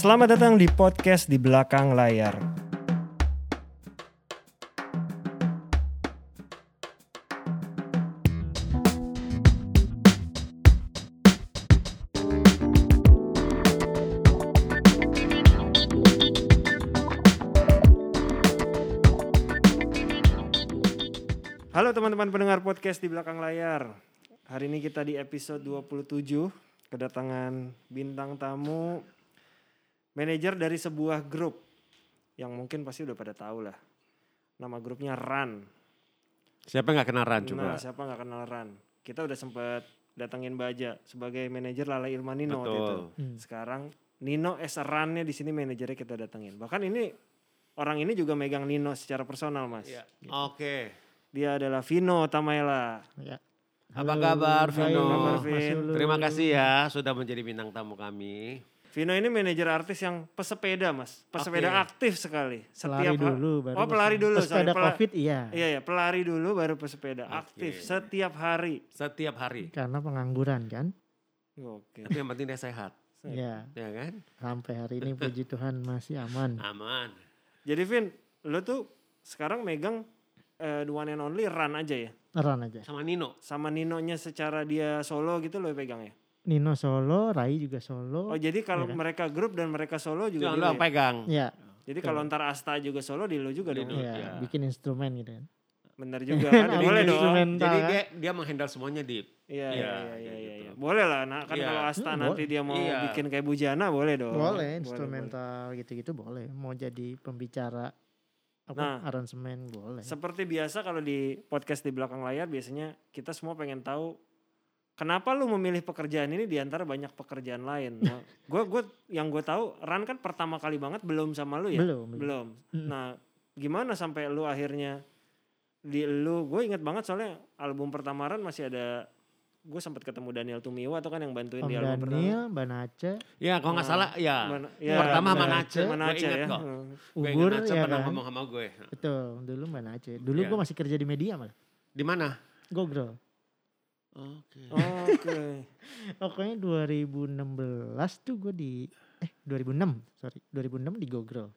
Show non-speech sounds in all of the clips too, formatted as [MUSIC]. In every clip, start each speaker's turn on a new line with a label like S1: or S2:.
S1: Selamat datang di podcast di belakang layar. Halo teman-teman pendengar podcast di belakang layar. Hari ini kita di episode 27 kedatangan bintang tamu manajer dari sebuah grup yang mungkin pasti udah pada tahu lah. Nama grupnya Run.
S2: Siapa yang gak kenal Ran coba?
S1: Nah, siapa nggak kenal Run? Kita udah sempet datengin Baja sebagai manajer Lala Irma Nino waktu itu.
S2: Betul.
S3: Hmm.
S1: Sekarang Nino as a Run-nya di sini manajernya kita datengin. Bahkan ini orang ini juga megang Nino secara personal, Mas.
S3: Iya.
S2: Oke.
S1: Dia adalah Vino Tamaela.
S3: Ya.
S2: Apa kabar Vino?
S1: Apa kabar, Vin?
S2: Terima kasih ya sudah menjadi bintang tamu kami.
S1: Vino ini manajer artis yang pesepeda mas, pesepeda
S2: Oke.
S1: aktif sekali.
S3: Pelari
S1: ha-
S3: dulu baru
S1: oh pelari
S3: pesepeda.
S1: dulu,
S3: Pesepeda
S1: pela-
S3: Covid iya.
S1: Iya ya pelari dulu baru pesepeda aktif setiap hari.
S2: Setiap hari.
S3: Karena pengangguran kan.
S1: Oke.
S2: Tapi yang penting dia sehat.
S3: Iya,
S2: Ya kan?
S3: sampai hari ini puji Tuhan masih aman.
S2: Aman.
S1: Jadi Vin, lo tuh sekarang megang eh, the one and only run aja ya,
S3: Run aja.
S2: Sama Nino.
S1: sama Ninonya secara dia solo gitu lo pegang ya.
S3: Nino solo, Rai juga solo.
S1: Oh jadi kalau
S3: Iya kan?
S1: mereka grup dan mereka solo
S2: Itu
S1: juga.
S2: yang
S1: di
S2: lu
S1: lo
S2: yang
S1: ya?
S2: pegang.
S3: Ya,
S1: Jadi kalau ntar Asta juga solo di lo juga dong.
S2: Nino.
S3: ya,
S2: iya.
S3: bikin instrumen gitu kan.
S1: Bener juga kan?
S3: [LAUGHS] Ada
S1: Boleh ya. dong.
S3: instrumen. Mental,
S2: Jadi
S3: kan?
S2: dia dia menghandle semuanya di
S1: Iya,
S2: Iya,
S1: iya, iya,
S2: kayak
S1: iya,
S2: gitu.
S1: iya. Boleh lah, nah, kan
S2: Iya.
S1: kalau Asta
S3: Hmm,
S1: nanti
S3: boleh.
S1: dia mau
S2: Iya.
S1: bikin kayak Bujana boleh dong.
S3: boleh, instrumental gitu-gitu boleh. Mau jadi pembicara apa
S1: Nah.
S3: aransemen boleh.
S1: Seperti biasa kalau di podcast di belakang layar biasanya kita semua pengen tahu kenapa lu memilih pekerjaan ini di antara banyak pekerjaan
S3: [LAUGHS]
S1: lain. Nah, gua gua yang gue tahu Ran kan pertama kali banget belum sama lu ya?
S3: Belum, belum.
S1: Belum.
S3: Mm.
S1: Nah, gimana sampai lu akhirnya di lu gue inget banget soalnya album pertama Ran masih ada gue sempat ketemu Daniel Tumiwa atau kan yang bantuin
S3: Om
S1: di album pertama.
S3: Daniel, Banace,
S2: Ya, kalau nggak
S1: Nah,
S2: salah ya.
S1: Mana-
S2: Pertama
S1: benar.
S2: Manace, gua
S1: Manace
S2: ingat
S1: ya.
S2: kok.
S1: Heeh.
S2: Gue
S3: Ubur
S2: ingat Nace
S3: ya
S2: pernah
S3: kan.
S2: ngomong sama gue.
S3: Betul, dulu Banace. Dulu
S2: Iya.
S3: gue masih kerja di media malah.
S2: Di mana?
S3: Gogrol.
S2: Oke.
S1: Oke.
S2: [LAUGHS]
S3: Pokoknya 2016 tuh gue di eh 2006 sorry 2006 di Gogrol.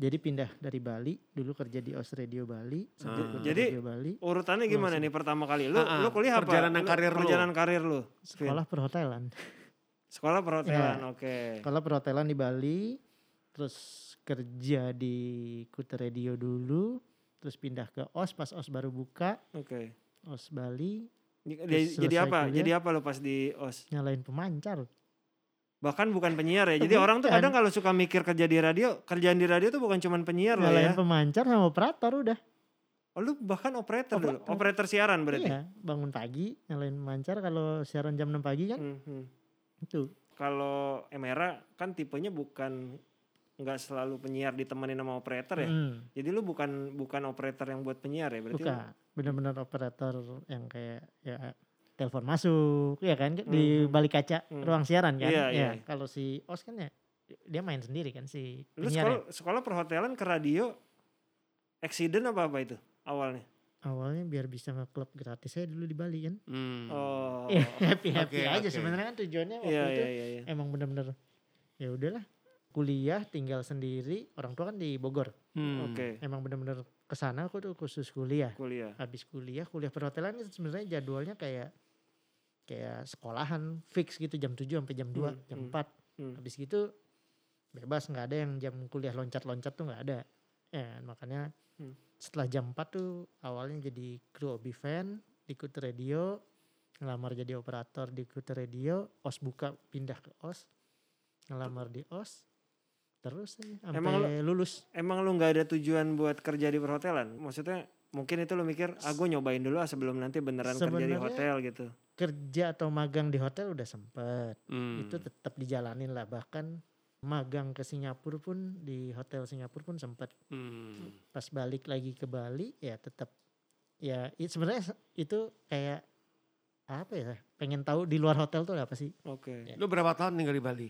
S3: Jadi pindah dari Bali dulu kerja di Os Radio Bali. sempat
S2: Ah.
S3: kerja
S1: Jadi,
S3: Radio Bali
S1: Urutannya gimana
S3: Langsung.
S1: nih pertama kali? Lu
S2: Ah, ah.
S1: lu kuliah apa?
S2: Perjalanan karir lu.
S1: Perjalanan karir lu.
S3: sekolah perhotelan.
S1: Sekolah perhotelan.
S3: Ya.
S1: Oke.
S3: Sekolah perhotelan di Bali. Terus kerja di Kute Radio dulu. Terus pindah ke Os pas Os baru buka
S1: Oke.
S3: Os Bali
S1: J-
S3: Terus
S1: j- Jadi
S3: selesai
S1: apa?
S3: kuliah.
S1: Jadi apa lu pas di OS?
S3: nyalain pemancar.
S1: Bahkan bukan penyiar ya. Jadi orang tuh
S3: Bukan.
S1: kadang kalau suka mikir kerja di radio, kerjaan di radio tuh bukan cuman penyiar lah ya.
S3: Nyalain pemancar sama operator udah.
S1: Oh, lu bahkan operator dulu.
S3: Operator.
S1: Operator siaran berarti.
S3: Iya, bangun pagi nyalain pemancar kalau siaran jam 6 pagi kan
S1: Hmm, hmm.
S3: itu
S1: Kalau Emera kan tipenya bukan nggak selalu penyiar ditemenin sama operator ya.
S3: Mm.
S1: Jadi lu bukan bukan operator yang buat penyiar ya berarti. lu-
S3: Bukan, benar-benar operator yang kayak ya telepon masuk, ya kan di
S1: Mhm.
S3: balik kaca
S1: Mhm.
S3: ruang siaran kan.
S1: Iya,
S3: ya,
S1: iya.
S3: kalau si Os kan ya dia main sendiri kan si
S1: Lu sekolah,
S3: penyiar ya.
S1: sekolah perhotelan ke radio, accident apa apa itu awalnya?
S3: Awalnya biar bisa ngeklub gratis saya dulu di Bali kan. [LAUGHS]
S2: Hmm.
S1: Oh,
S3: Ya, happy-happy
S2: Oke,
S3: aja
S2: oke.
S3: sebenarnya kan tujuannya waktu
S1: [LAUGHS] iya
S3: itu
S1: iya iya. iya.
S3: emang benar-benar ya udahlah kuliah tinggal sendiri orang tua kan di Bogor
S2: Hmm.
S1: Oke,
S3: emang benar-benar kesana aku tuh khusus kuliah
S1: kuliah.
S3: habis kuliah kuliah perhotelan itu sebenarnya jadwalnya kayak kayak sekolahan fix gitu jam 7 sampai jam 2
S1: Hmm,
S3: jam
S1: hmm,
S3: 4
S1: hmm.
S3: habis gitu bebas nggak ada yang jam kuliah loncat-loncat tuh nggak ada ya makanya
S1: Hmm.
S3: setelah jam 4 tuh awalnya jadi kru obi fan ikut radio ngelamar jadi operator di ikut radio os buka pindah ke os ngelamar di os terus aja
S1: Emang lo-
S3: sampai lulus
S1: Emang lu nggak ada tujuan buat kerja di perhotelan? Maksudnya mungkin itu lu mikir, ah gua nyobain dulu ah sebelum nanti beneran kerja di
S3: Sebenarnya-
S1: hotel gitu.
S3: kerja atau magang di hotel udah sempet
S2: Hmm.
S3: itu tetap dijalanin lah bahkan magang ke Singapura pun di hotel Singapura pun sempat
S2: Hmm.
S3: pas balik lagi ke Bali ya tetap ya i- sebenarnya se- itu kayak apa ya pengen tahu di luar hotel tuh ada apa sih
S1: Oke.
S2: Lu berapa tahun tinggal di Bali?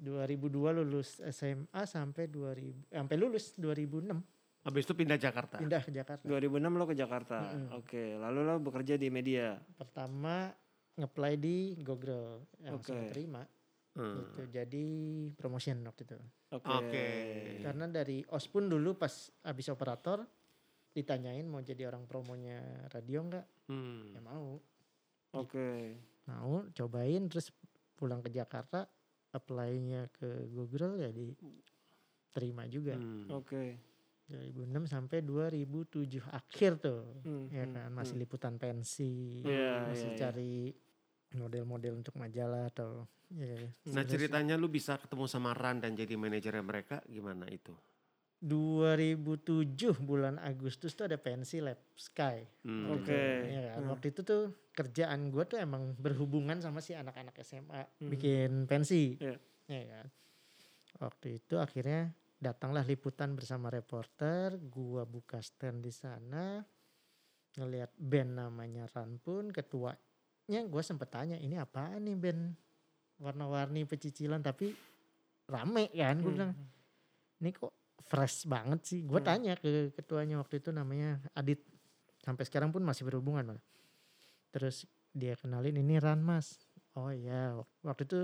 S3: 2002 lulus SMA sampai 2000 sampai lulus 2006
S2: Nah. Habis itu pindah Jakarta.
S3: pindah ke Jakarta
S1: 2006 lo ke Jakarta.
S3: Mm-mm.
S1: Oke, lalu lo bekerja di media.
S3: pertama ngeplay di Gogrol yang
S1: Oke.
S3: terima
S2: Hmm.
S3: gitu jadi promotion waktu itu
S1: Oke.
S2: Oke.
S3: karena dari os pun dulu pas abis operator ditanyain mau jadi orang promonya radio nggak
S2: Hmm.
S3: ya mau
S1: Oke.
S3: mau cobain terus pulang ke Jakarta apply-nya ke Google ya diterima juga
S2: Hmm.
S1: Oke.
S3: 2006 sampai 2007 akhir tuh
S1: Hmm,
S3: ya
S1: hmm,
S3: kan masih
S1: hmm.
S3: liputan pensi
S1: Iya, iya,
S3: masih
S1: iya.
S3: cari model-model untuk majalah atau ya
S2: Nah
S3: terus
S2: ceritanya lu bisa ketemu sama Ran dan jadi manajernya mereka gimana itu?
S3: 2007 bulan Agustus tuh ada pensi Lab Sky
S2: Hmm.
S3: waktu
S1: Oke.
S3: itu. Ya kan?
S1: Hmm.
S3: waktu itu tuh kerjaan gue tuh emang berhubungan sama si anak-anak SMA
S1: Hmm.
S3: bikin pensi
S1: Iya.
S3: ya kan waktu itu akhirnya datanglah liputan bersama reporter gua buka stand di sana ngelihat band namanya Ran pun ketuanya gue sempet tanya ini apaan nih band warna-warni pecicilan tapi rame kan gue
S1: Hmm.
S3: bilang ini kok fresh banget sih. Gue
S1: Hmm.
S3: tanya ke ketuanya waktu itu namanya Adit. Sampai sekarang pun masih berhubungan. malah. Terus dia kenalin ini Ran mas. Oh iya wak- waktu itu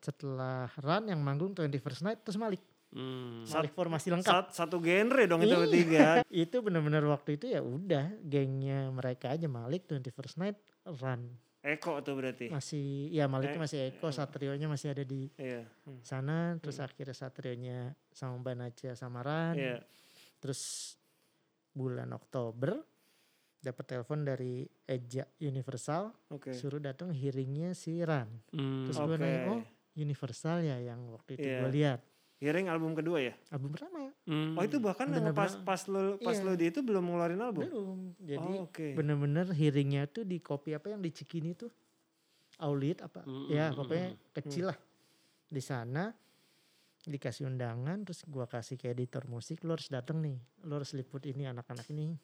S3: setelah Ran yang manggung 21st Night terus Malik.
S2: Hmm.
S1: Sa-
S3: Malik formasi lengkap.
S1: Sat- satu genre dong itu
S3: Iya.
S1: bertiga.
S3: Itu benar-benar waktu itu ya udah gengnya mereka aja Malik 21st Night Ran.
S1: Eko tuh berarti.
S3: Masih ya Maliknya
S1: Eh,
S3: masih Eko,
S1: eh.
S3: Satrionya masih ada di
S1: Iya. Hmm.
S3: sana. Terus akhirnya Satrionya sama Mbak Nacia sama Ran.
S1: Iya.
S3: Terus bulan Oktober dapat telepon dari Eja Universal
S1: Oke.
S3: suruh datang hearingnya si Ran.
S2: Hmm.
S3: Terus
S1: Oke.
S3: gue nanya oh Universal ya yang waktu itu
S1: Iya.
S3: gue lihat
S1: Hearing album kedua ya.
S3: album pertama
S2: Hmm.
S1: Oh itu bahkan yang
S3: Bener-bener.
S1: pas pas lo pas
S3: Iya.
S1: lo di itu belum ngeluarin album.
S3: belum. Jadi
S1: oh, oke.
S3: bener-bener hearingnya tuh di kopi apa yang di Cikini tuh Aulit apa
S2: Mm,
S3: ya
S2: mm, mm,
S3: pokoknya kecil lah di sana dikasih undangan terus gua kasih ke editor musik lo harus datang nih lo harus liput ini anak-anak ini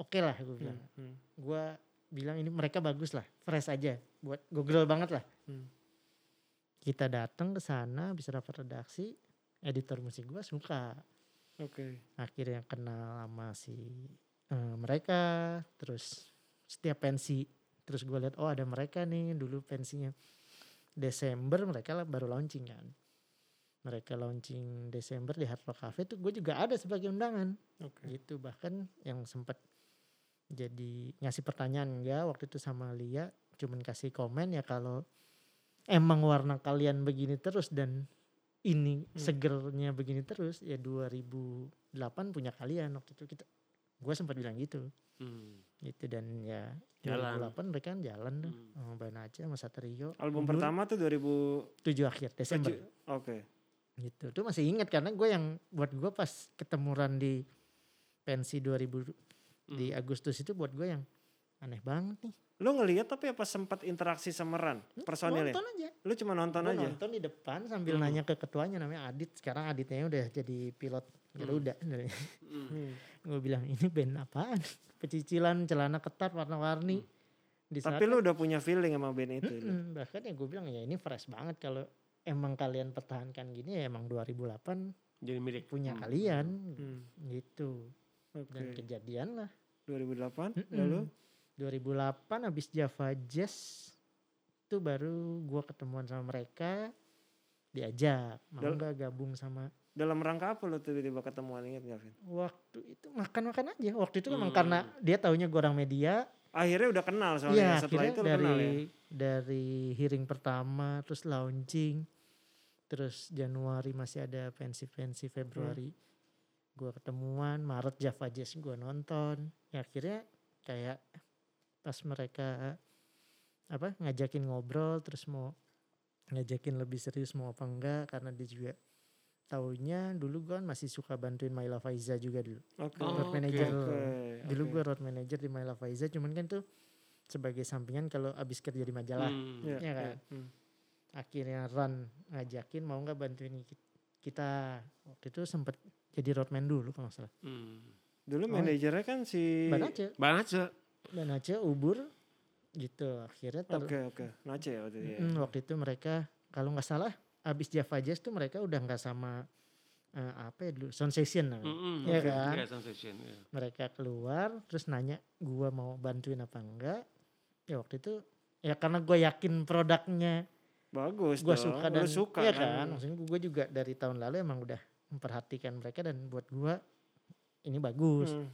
S3: oke lah gue bilang
S1: Hmm, hmm.
S3: gua bilang ini mereka bagus lah fresh aja buat gogrol banget lah
S1: Hmm.
S3: kita datang ke sana bisa dapat redaksi editor musik gua suka
S1: Oke.
S3: akhirnya kenal sama si eh, mereka terus setiap pensi terus gua lihat oh ada mereka nih dulu pensinya Desember mereka lah baru launching kan mereka launching Desember di Hard Rock Cafe tuh gue juga ada sebagai undangan
S1: Oke.
S3: gitu bahkan yang sempat jadi ngasih pertanyaan enggak waktu itu sama Lia cuman kasih komen ya kalau emang warna kalian begini terus dan ini
S1: Hmm.
S3: segernya begini terus ya 2008 punya kalian waktu itu kita gue sempat bilang gitu
S2: Hmm.
S3: gitu dan ya
S2: Jalan.
S3: 2008 mereka kan jalan tuh
S2: Hmm.
S3: sama Mbak Naca sama Satrio
S1: Album pertama tuh 2007.
S3: 7 akhir Desember
S1: Oke.
S3: gitu tuh masih ingat karena gue yang buat gue pas ketemuran di pensi 2000 di Agustus itu buat gue yang aneh banget nih Hmm,
S1: Lo ngelihat tapi apa sempat interaksi sama Ran personilnya?
S3: nonton aja
S1: Lo cuma nonton
S3: Gua
S1: aja.
S3: nonton di depan sambil
S2: Hmm.
S3: nanya ke ketuanya namanya Adit sekarang Aditnya udah jadi pilot Garuda [LAUGHS]
S2: Hmm.
S1: Hmm.
S3: gue bilang ini band apaan [LAUGHS] pecicilan celana ketat warna-warni di saat
S1: Tapi gitu lo udah punya feeling sama band itu. Lo.
S3: Mm-mm, bahkan ya gue bilang ya ini fresh banget kalau emang kalian pertahankan gini ya emang 2008
S2: Jadi milik
S3: punya
S2: Hmm.
S3: kalian
S1: Hmm.
S3: gitu
S1: Oke.
S3: dan kejadian lah
S1: 2008
S3: Mm-mm.
S1: lalu
S3: 2008 habis Java Jazz itu baru gua ketemuan sama mereka diajak mau
S1: Dal-
S3: nggak gabung sama
S1: dalam rangka apa lo tiba-tiba ketemuan inget gak Vin?
S3: waktu itu makan-makan aja waktu itu memang
S2: Hmm.
S3: karena dia taunya gue orang media
S1: Akhirnya udah kenal soalnya
S3: ya
S1: setelah
S3: akhirnya
S1: itu lo
S3: dari
S1: kenal ya.
S3: dari hearing pertama terus launching terus Januari masih ada pensi-pensi Februari gua ketemuan Maret Java Jazz gua nonton ya akhirnya kayak pas mereka apa ngajakin ngobrol terus mau ngajakin lebih serius mau apa enggak karena dia juga taunya dulu gua kan masih suka bantuin Maila Faiza juga dulu
S1: Oke.
S2: Oh,
S3: road
S2: oke,
S3: manager
S1: Oke,
S3: iya. dulu
S1: Ya, oke.
S3: gue road manager di My Love Faiza cuman kan tuh sebagai sampingan kalau abis kerja di majalah
S2: Hmm.
S1: Iya,
S3: ya
S1: iya.
S3: kan?
S1: Hmm.
S3: akhirnya Ran ngajakin mau nggak bantuin ki- kita waktu itu sempet jadi roadman dulu kalau nggak salah
S2: Hmm.
S1: Dulu
S3: Oh.
S1: manajernya kan si
S3: Mbak Nace
S2: Bang Ace.
S3: Mbak Nace ubur gitu akhirnya ter-
S1: Oke oke, Nace ya waktu itu. ya.
S3: Mm, waktu itu mereka kalau nggak salah abis Java Jazz tuh mereka udah nggak sama eh, apa ya dulu Sound Session namanya.
S2: Hmm.
S3: Iya
S2: oke.
S3: kan?
S2: Iya, sensation, iya.
S3: mereka keluar terus nanya gua mau bantuin apa enggak ya waktu itu ya karena gue yakin produknya
S1: Bagus
S3: gue
S1: dong.
S3: suka
S1: Lu
S3: dan
S1: suka
S3: iya
S1: kan.
S3: kan maksudnya gue juga dari tahun lalu emang udah memperhatikan mereka dan buat gue ini bagus
S1: Hmm.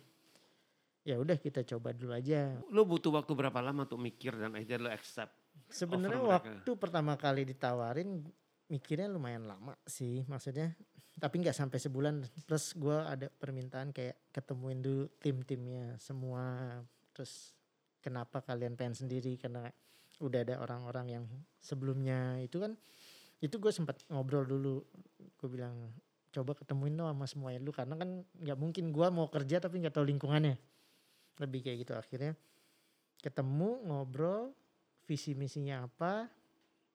S3: ya udah kita coba dulu aja
S2: Lu butuh waktu berapa lama untuk mikir dan akhirnya lu accept?
S3: sebenarnya
S2: mereka.
S3: waktu pertama kali ditawarin mikirnya lumayan lama sih maksudnya tapi nggak sampai sebulan plus gue ada permintaan kayak ketemuin dulu tim-timnya semua terus kenapa kalian pengen sendiri karena udah ada orang-orang yang sebelumnya itu kan itu gue sempat ngobrol dulu gue bilang coba ketemuin dong sama semuanya dulu karena kan nggak mungkin gue mau kerja tapi nggak tahu lingkungannya lebih kayak gitu akhirnya ketemu ngobrol visi misinya apa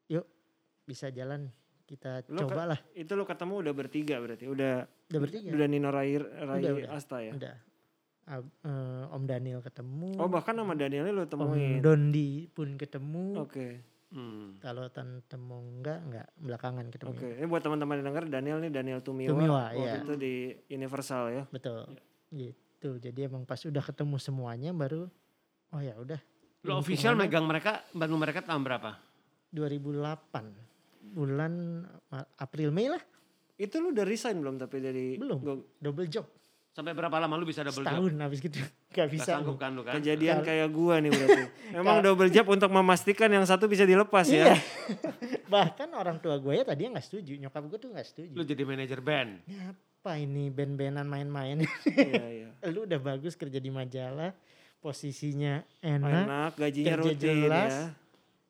S3: yuk bisa jalan kita
S1: Lu ke-
S3: cobalah
S1: Itu lu ketemu udah bertiga berarti. Udah
S3: udah bertiga
S1: udah Nino Rai, Rai
S3: Iya. Udah, udah.
S1: Asta ya.
S3: udah Ab- eh, Om Daniel ketemu
S1: Oh bahkan sama Danielnya lu
S3: Mm. Om
S1: temuin. Oh.
S3: Dondi pun ketemu
S1: Oke.
S2: Hmm.
S3: kalau tante mau enggak enggak belakangan ketemu
S1: Oke. Ini buat teman-teman yang denger Daniel nih Daniel Tumiwa.
S3: Tumiwa,
S1: waktu
S3: iya.
S1: itu di Universal ya.
S3: betul gitu jadi emang pas udah ketemu semuanya baru oh ya udah
S2: Lu official
S3: Lingkungannya
S2: megang mereka, bantu mereka tahun berapa?
S3: 2008 bulan Ma- April Mei lah
S1: Itu lu udah resign belum tapi dari
S3: Belum.
S1: Gua-
S3: double job
S2: Sampai berapa lama lu bisa double job?
S3: setahun habis gitu [LAUGHS] nggak
S2: Gak
S3: bisa
S2: sanggup kan lu kan?
S1: kejadian
S3: Kal-
S1: kayak gua nih
S3: [LAUGHS]
S1: berarti. Emang double job untuk memastikan yang satu bisa dilepas ya.
S3: iya [LAUGHS] bahkan orang tua gue ya tadinya nggak setuju nyokap gue tuh nggak setuju
S2: Lu jadi manajer band.
S3: Ini apa ini band-bandan main-main [LAUGHS]
S1: Iya iya.
S3: lu udah bagus kerja di majalah posisinya enak
S1: Enak, gajinya
S3: kerja
S1: Iya, rutin
S3: jelas.
S1: ya.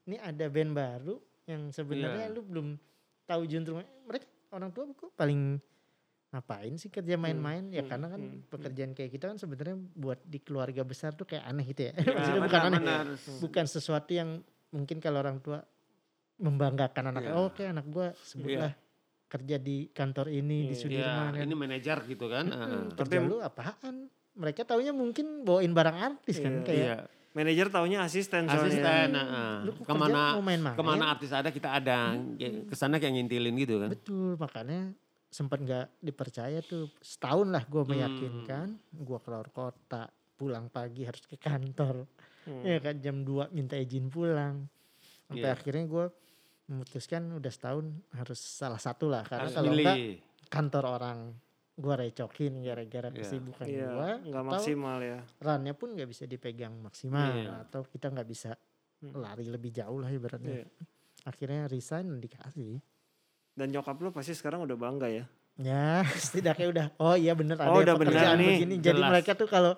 S3: ini ada band baru yang sebenarnya
S2: Iya.
S3: lu belum tahu juntrung mereka orang tua kok paling ngapain sih kerja main-main ya
S1: hmm,
S3: karena kan
S1: hmm,
S3: pekerjaan kayak kita kan sebenarnya buat di keluarga besar tuh kayak aneh gitu ya,
S1: Iya,
S2: Ya,
S3: [LAUGHS] Maksudnya
S2: benar,
S3: bukan aneh
S2: benar.
S3: bukan sesuatu yang mungkin kalau orang tua membanggakan anaknya
S2: Iya.
S3: oh, oke anak gua sebutlah kerja di kantor ini
S1: Iya.
S3: di
S1: nah,
S3: Sudirman
S2: Ya,
S3: kan.
S2: ini manajer gitu kan. heeh.
S3: kerja
S1: Tapi-
S3: lu apaan mereka taunya mungkin bawain barang artis kan
S1: Iya.
S3: kayak
S2: Iya.
S1: Manajer taunya asisten soalnya.
S2: Asisten. heeh.
S3: Iya. lu kok kerja
S2: Kemana
S3: mau main-main
S2: kemana artis ada kita ada. Kesana kayak ngintilin gitu kan.
S3: Betul, makanya sempat nggak dipercaya tuh setahun lah gue meyakinkan
S2: Hmm.
S3: gua keluar kota pulang pagi harus ke kantor
S1: Hmm.
S3: ya kan jam 2 minta izin pulang sampai
S2: Iya.
S3: akhirnya gua memutuskan udah setahun harus salah satu lah karena
S2: Harus
S3: kalau enggak
S2: milih.
S3: kantor orang gua recokin gara-gara
S2: Iya.
S3: kesibukan
S1: Iya,
S3: gua
S1: nggak
S3: atau
S1: maksimal ya.
S3: runnya pun nggak bisa dipegang maksimal
S2: Iya.
S3: atau kita nggak bisa
S1: Hmm.
S3: lari lebih jauh lah ibaratnya
S1: Iya.
S3: akhirnya resign dan dikasih
S1: Dan nyokap lu pasti sekarang udah bangga ya.
S3: Ya, [LAUGHS] setidaknya udah. Oh iya bener ada
S1: Oh, udah bener
S3: pekerjaan
S1: nih,
S3: begini. Jadi
S2: jelas.
S3: mereka tuh kalau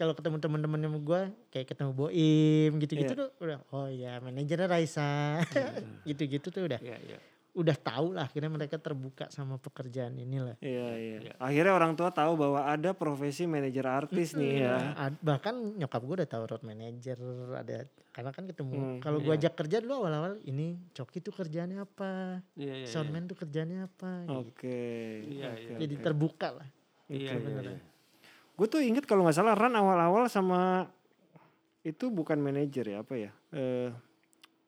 S3: kalau ketemu teman-temannya sama gue kayak ketemu Boim gitu-gitu
S1: Iya.
S3: tuh udah oh iya manajernya Raisa [LAUGHS] gitu-gitu tuh udah
S2: Iya, iya.
S3: udah tahu lah akhirnya mereka terbuka sama pekerjaan inilah
S1: Iya, iya.
S2: Iya.
S1: Akhirnya orang tua tahu bahwa ada profesi manajer artis nih ya.
S3: Ad- bahkan nyokap gue udah tahu road manager ada karena kan ketemu
S1: Hmm,
S3: kalau gue
S2: iya.
S3: ajak kerja dulu awal-awal ini coki tuh kerjaannya apa
S2: Iya, iya, iya.
S3: soundman tuh kerjaannya apa gitu.
S1: Oke.
S2: Iya, iya.
S3: jadi terbuka lah
S2: Iya, iya,
S3: beneran.
S2: iya.
S1: Gue tuh inget kalau nggak salah Ran awal-awal sama itu bukan manajer ya apa ya? Eh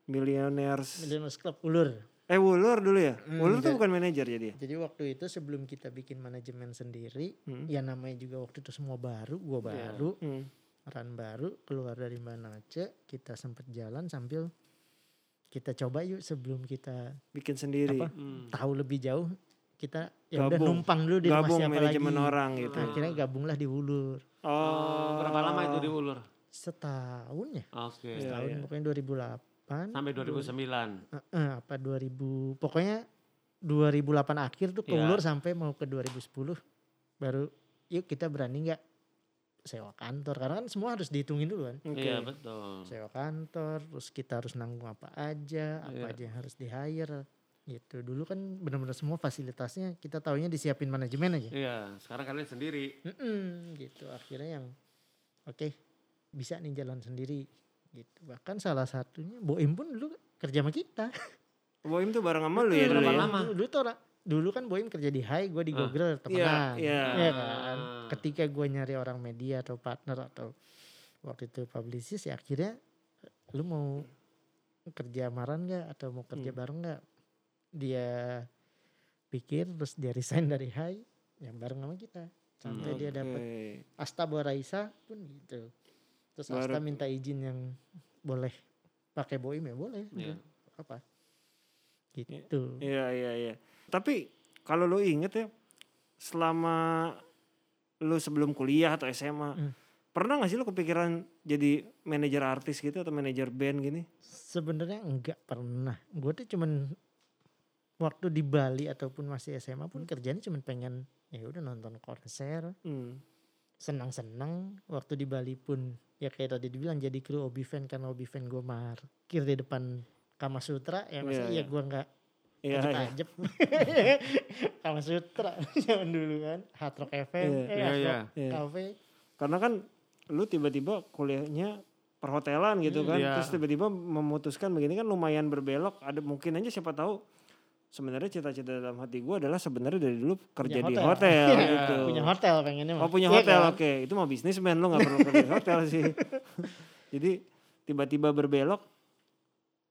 S1: millionaires.
S3: Millionaires Club ulur
S1: Eh Wulur dulu ya.
S3: Hmm,
S1: Wulur tuh
S3: jadi-
S1: bukan manajer jadi ya.
S3: Jadi waktu itu sebelum kita bikin manajemen sendiri,
S1: Hmm.
S3: ya namanya juga waktu itu semua baru, gua
S2: Iya.
S3: baru,
S1: Hmm.
S3: Ran baru, keluar dari Mbak Nace, kita sempet jalan sambil kita coba yuk sebelum kita
S1: Bikin sendiri.
S3: Apa?
S2: Hmm.
S3: tahu lebih jauh, kita ya udah
S1: Gabung.
S3: numpang dulu di rumah
S1: Gabung
S3: siapa lagi.
S1: manajemen orang gitu.
S3: Nah, akhirnya gabunglah di Wulur.
S1: Oh,
S2: Berapa lama itu di Ulur?
S3: Setahun ya?
S2: Oke.
S1: Iya.
S3: Setahun pokoknya 2008
S2: Sampai 2009.
S3: Eh, eh, apa 2000 pokoknya 2008 akhir tuh
S2: Iya.
S3: keluar sampai mau ke 2010 baru yuk kita berani nggak sewa kantor karena kan semua harus dihitungin dulu kan
S1: Oke.
S2: Iya, betul.
S3: sewa kantor terus kita harus nanggung apa aja apa
S2: Iya.
S3: aja yang harus di hire gitu dulu kan benar-benar semua fasilitasnya kita taunya disiapin manajemen aja
S2: Iya, sekarang kalian sendiri.
S3: Mm-mm, gitu akhirnya yang oke bisa nih jalan sendiri gitu bahkan salah satunya Boim pun dulu kerja sama kita
S1: Boim tuh bareng sama lu ya
S2: Iya, Berapa
S1: dulu ya.
S2: lama?
S3: Dulu, dulu tuh orang- dulu kan Boim kerja di Hai, gue di
S2: Ah.
S3: Google
S1: Iya,
S3: temenan.
S1: iya.
S3: Iya kan.
S2: Ah.
S3: Ketika gue nyari orang media atau partner atau waktu itu publicist ya akhirnya lu mau kerja amaran nggak atau mau kerja
S1: Hmm.
S3: bareng nggak? Dia pikir terus dia resign [LAUGHS] dari Hai yang bareng sama kita sampai dia dapat
S1: Hmm, Oke.
S3: Asta bawa Raisa pun gitu. Terus Asta
S1: Baru-
S3: minta izin yang boleh pakai Boim ya boleh.
S2: Iya.
S3: Apa? gitu
S1: Iya iya iya. Tapi kalau lu inget ya selama lu sebelum kuliah atau SMA
S3: Mm.
S1: pernah gak sih lu kepikiran jadi manajer artis gitu atau manajer band gini?
S3: sebenarnya nggak pernah gue tuh cuman waktu di Bali ataupun masih SMA pun kerjanya cuman pengen ya udah nonton konser
S1: Hmm.
S3: senang-senang waktu di Bali pun ya kayak tadi dibilang jadi kru obi fan karena obi fan gue markir di depan Kama Sutra ya
S1: Iya,
S3: masa iya
S1: iya.
S3: gue nggak
S1: Iya
S3: ajep
S1: iya.
S3: ajep [LAUGHS] Kama Sutra [LAUGHS] zaman dulu kan Hard Rock FM
S1: Iya,
S3: eh,
S2: iya,
S3: Hard
S2: iya.
S3: Rock
S1: Iya.
S3: Cafe
S1: Karena kan lu tiba-tiba kuliahnya perhotelan gitu
S3: Hmm,
S1: kan.
S2: iya.
S1: Terus tiba-tiba memutuskan begini kan lumayan berbelok. Ada mungkin aja siapa tahu sebenarnya cita-cita dalam hati gua adalah sebenarnya dari dulu kerja
S3: Punya
S1: di hotel
S3: [LAUGHS] Iya,
S1: gitu.
S3: punya hotel pengennya mah.
S1: Oh punya
S3: Iya
S1: hotel,
S3: kan?
S1: oke. Itu mau bisnismen, lo gak perlu kerja di hotel
S3: [LAUGHS]
S1: sih. Jadi tiba-tiba berbelok,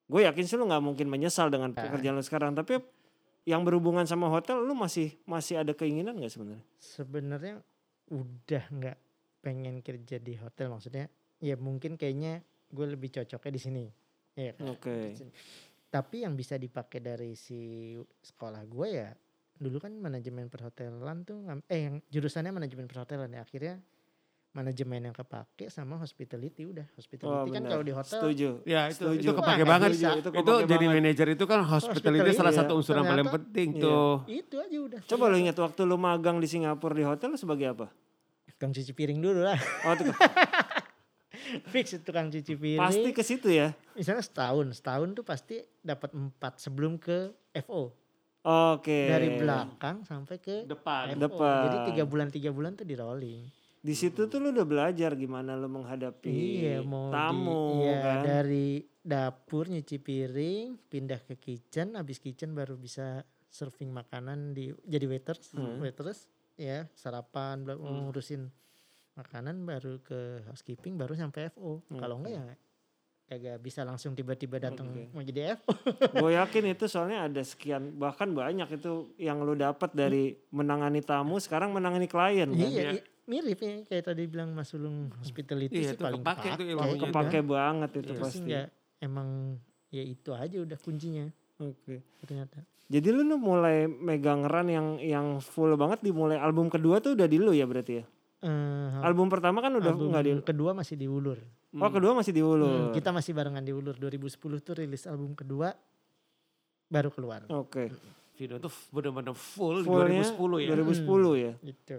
S1: gue yakin sih lo gak mungkin menyesal dengan
S3: Nah.
S1: pekerjaan lo sekarang. Tapi yang berhubungan sama hotel, lo masih masih ada keinginan gak sebenarnya?
S3: sebenarnya udah nggak pengen kerja di hotel maksudnya ya mungkin kayaknya gue lebih cocoknya di sini ya kan?
S1: Oke.
S3: Di sini. tapi yang bisa dipakai dari si sekolah gue ya dulu kan manajemen perhotelan tuh ngam- eh yang jurusannya manajemen perhotelan ya akhirnya manajemen yang kepake sama hospitality udah
S1: Oh,
S3: hospitality kan
S1: benar.
S3: kalau di hotel
S1: Setuju.
S2: Ya itu
S1: Setuju. Iya,
S2: itu kepake
S3: Wah,
S2: banget.
S3: bisa.
S1: Setuju,
S2: Itu,
S1: kepake
S2: jadi
S1: banget.
S2: manajer itu kan hospitality
S3: Hospitality,
S2: salah
S1: iya.
S2: satu unsur yang paling
S3: Ternyata-
S2: penting
S1: Iya.
S2: tuh.
S3: itu aja udah
S1: Coba lo ingat waktu lo magang di Singapura di hotel lo sebagai apa?
S3: tukang cuci piring dulu lah [LAUGHS]
S1: Oh, tuh,
S3: fix tukang cuci piring
S1: pasti ke situ ya.
S3: misalnya setahun setahun tuh pasti dapat empat sebelum ke FO
S1: Oke.
S3: dari belakang sampai ke
S2: Depan.
S3: FO.
S1: depan.
S3: jadi tiga bulan tiga bulan tuh di rolling
S1: Di situ tuh lo udah belajar gimana lo menghadapi
S3: iya mau di-
S1: tamu
S3: iya,
S1: kan.
S3: dari dapur nyuci piring pindah ke kitchen habis kitchen baru bisa serving makanan di jadi waiters
S1: Hmm.
S3: waitress ya sarapan bla- ngurusin makanan baru ke housekeeping baru sampai FO kalau enggak ya kagak bisa langsung tiba-tiba datang
S1: Oke.
S3: mau jadi FO
S1: gue yakin itu soalnya ada sekian bahkan banyak itu yang lu dapat dari menangani tamu sekarang menangani klien kan
S3: Iya, i- mirip ya kayak tadi bilang Mas Ulung hospitality
S2: Iya,
S3: sih
S2: itu
S3: paling
S2: kepake
S3: pakai. kan.
S2: tuh ilmunya.
S3: udah.
S1: kepake banget itu
S3: Itu sih
S1: pasti
S3: nggak- emang ya itu aja udah kuncinya
S1: oke
S3: ternyata.
S1: jadi lu nu mulai megang ran yang yang full banget dimulai album kedua tuh udah di lu ya berarti ya
S3: Eh,
S1: album pertama kan udah
S3: album
S1: nggak di
S3: kedua masih diulur.
S1: oh kedua masih di
S3: Hmm,
S1: Ulur
S3: kita masih barengan diulur 2010 tuh rilis album kedua baru keluar.
S1: oke
S2: Video tuh bener-bener full,
S1: Fullnya
S2: 2010 ya.
S1: 2010 ya
S3: Gitu.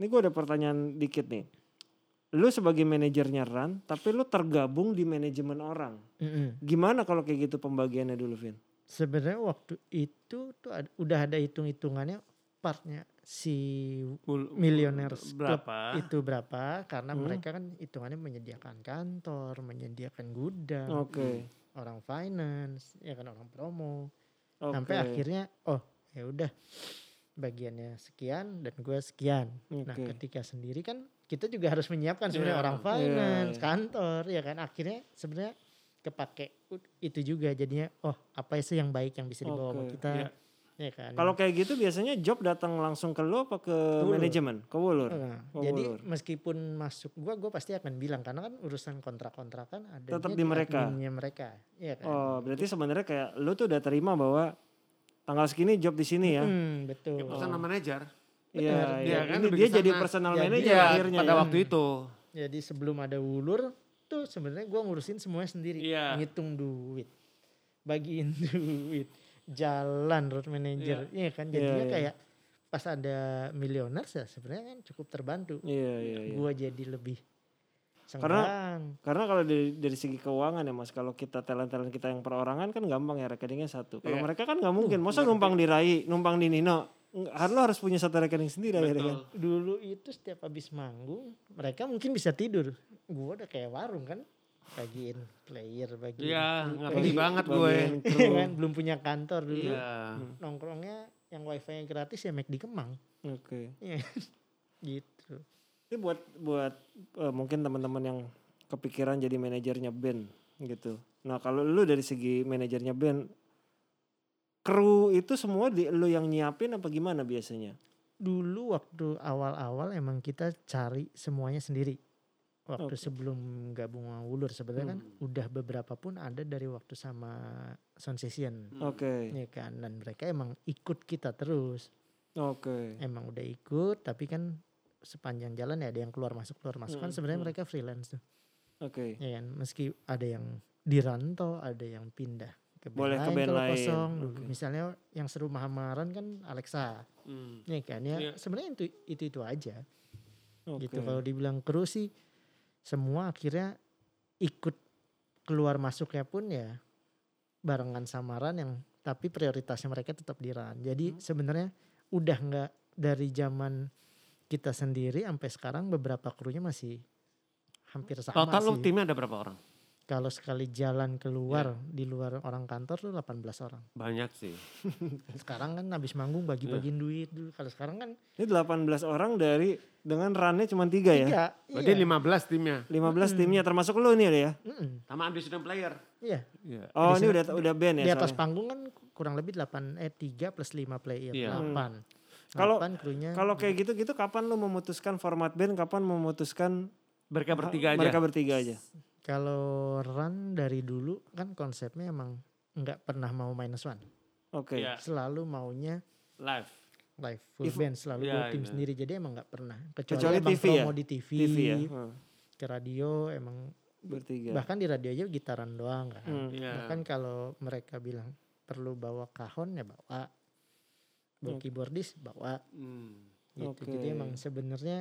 S1: ini gue ada pertanyaan dikit nih lu sebagai manajernya Ran tapi lu tergabung di manajemen orang
S3: Mm-mm.
S1: gimana kalau kayak gitu pembagiannya dulu Vin
S3: Sebenarnya waktu itu tuh ad- udah ada hitung-hitungannya partnya si
S2: Full-
S3: Millionaires Club
S2: berapa?
S3: itu berapa karena
S1: Hmm.
S3: mereka kan hitungannya menyediakan kantor, menyediakan gudang,
S1: oke
S3: orang finance, ya kan orang promo.
S1: oke
S3: Sampai akhirnya oh, ya udah bagiannya sekian dan gue sekian. Nah,
S1: Oke.
S3: ketika sendiri kan kita juga harus menyiapkan sebenarnya
S2: Iya,
S3: orang
S1: iya,
S3: finance,
S1: iya.
S3: kantor, ya kan akhirnya sebenarnya kepake u- itu juga jadinya oh, apa sih yang baik yang bisa dibawa sama
S1: Oke,
S3: kita.
S2: iya.
S3: Ya kan.
S1: Kalau kayak gitu biasanya job datang langsung ke lo apa ke
S3: Wulur.
S1: manajemen? Ke Wulur.
S3: Nah,
S1: Oh,
S3: jadi
S1: ulur.
S3: meskipun masuk gua, gua pasti akan bilang karena kan urusan kontrak-kontrak kan ada
S1: Tetap di mereka.
S3: mereka, iya kan?
S1: Oh, berarti sebenarnya kayak lo tuh udah terima bahwa tanggal segini job di sini ya.
S3: Hmm, betul.
S2: Ya, personal manager.
S1: Iya,
S3: benar.
S1: iya.
S2: Dia kan
S1: Ini
S2: udah
S1: dia
S2: di sana.
S1: jadi personal
S3: Jadi
S1: manager
S2: Iya,
S1: akhirnya.
S2: pada
S1: ya.
S2: waktu itu.
S3: Jadi sebelum ada ulur tuh sebenarnya gua ngurusin semuanya sendiri,
S2: Iya.
S3: ngitung duit, bagiin [LAUGHS] duit, jalan road manager, iya kan?
S1: Iya,
S3: Jadinya
S1: iya.
S3: kayak pas ada milioner ya sebenarnya kan cukup terbantu.
S1: Iya, iya, iya.
S3: Gua jadi lebih
S1: Karena-
S3: senggang.
S1: Karena kalau dari, dari segi keuangan ya mas, kalau kita talent-talent kita yang perorangan kan gampang ya rekeningnya satu. Kalau
S2: Iya.
S1: mereka kan nggak mungkin, masa numpang di Rai, numpang di Nino. Nggak, Lo harus punya satu rekening sendiri akhirnya kan.
S2: Betul.
S3: dulu itu setiap habis manggung mereka mungkin bisa tidur gue udah kayak warung kan bagiin player bagiin [LAUGHS]
S2: Iya,
S3: bagiin-
S2: ngerti banget gue.
S1: Bagian
S3: Iya
S1: kru.
S3: kan, belum punya kantor dulu
S2: Iya.
S3: nongkrongnya yang wifi yang gratis ya make di Kemang
S1: Oke.
S3: Iya. gitu
S1: Ini buat buat eh, mungkin teman-teman yang kepikiran jadi manajernya band gitu. Nah, kalau lu dari segi manajernya band kru itu semua di lu yang nyiapin apa gimana biasanya?
S3: dulu waktu awal-awal emang kita cari semuanya sendiri waktu
S1: Oke.
S3: sebelum gabung sama Wulur sebenarnya kan
S2: Hmm.
S3: udah beberapa pun ada dari waktu sama Sound Session
S2: Hmm.
S1: Oke.
S3: ya kan dan mereka emang ikut kita terus
S1: Oke.
S3: emang udah ikut tapi kan sepanjang jalan ya ada yang keluar masuk keluar masuk kan
S1: Mm,
S3: sebenarnya
S1: mm.
S3: mereka freelance tuh
S1: Oke.
S3: ya kan meski ada yang dirantau ada yang pindah ke band
S1: Boleh ke band
S3: kalau
S1: lain,
S3: kosong dulu
S1: oke.
S3: misalnya yang seru Mahamaran kan Alexa ya kan ya
S2: Iya.
S3: sebenarnya itu itu itu aja
S1: Oke.
S3: gitu kalau dibilang kru sih semua akhirnya ikut keluar masuknya pun ya barengan samaran yang tapi prioritasnya mereka tetap di Ran
S2: Hmm.
S3: jadi sebenarnya udah nggak dari zaman kita sendiri sampai sekarang beberapa krunya masih hampir sama
S2: Total lu
S3: sih
S2: timnya ada berapa orang?
S3: kalau sekali jalan
S2: Iya.
S3: keluar di luar orang kantor tuh 18 orang
S2: Banyak sih.
S3: sekarang kan habis manggung
S2: Iya.
S3: bagi-bagiin duit dulu kalau sekarang kan
S1: Ini 18 orang dari dengan runnya cuma tiga ya.
S3: tiga Hmm.
S2: Berarti
S3: iya.
S2: 15 timnya.
S1: 15 timnya termasuk lu nih ada ya.
S3: Mm-mm,
S2: Sama ambition player.
S3: iya
S2: Iya.
S1: Oh, ini
S3: Di sana-
S1: udah udah band ya.
S3: di atas
S1: soalnya.
S3: panggung kan kurang lebih 8 eh 3 plus 5 player
S2: Iya.
S3: 8.
S1: Hmm. Kalau-
S3: 8 Nah, krunya
S1: Kalau kayak gitu gitu kapan lu memutuskan format band, kapan memutuskan
S2: Mereka bertiga aja.
S1: Mereka bertiga aja.
S3: kalau run dari dulu kan konsepnya emang nggak pernah mau minus one
S1: Oke.
S2: Iya.
S3: selalu maunya
S2: live.
S3: live full
S1: If-
S3: band selalu
S2: Iya,
S3: gua tim
S2: iya.
S3: sendiri jadi emang nggak pernah kecuali,
S1: Kecuali
S3: emang
S1: TV ya?
S3: promo di TV,
S1: TV ya. Hmm,
S3: ke radio emang
S1: Bertiga.
S3: bahkan di radio aja gitaran doang kan
S1: Hmm.
S2: Iya.
S3: bahkan kalau mereka bilang perlu bawa kahon ya bawa bawa
S1: Oke.
S3: keyboardis bawa
S2: Hmm.
S3: gitu jadi
S1: Oke.
S3: emang sebenarnya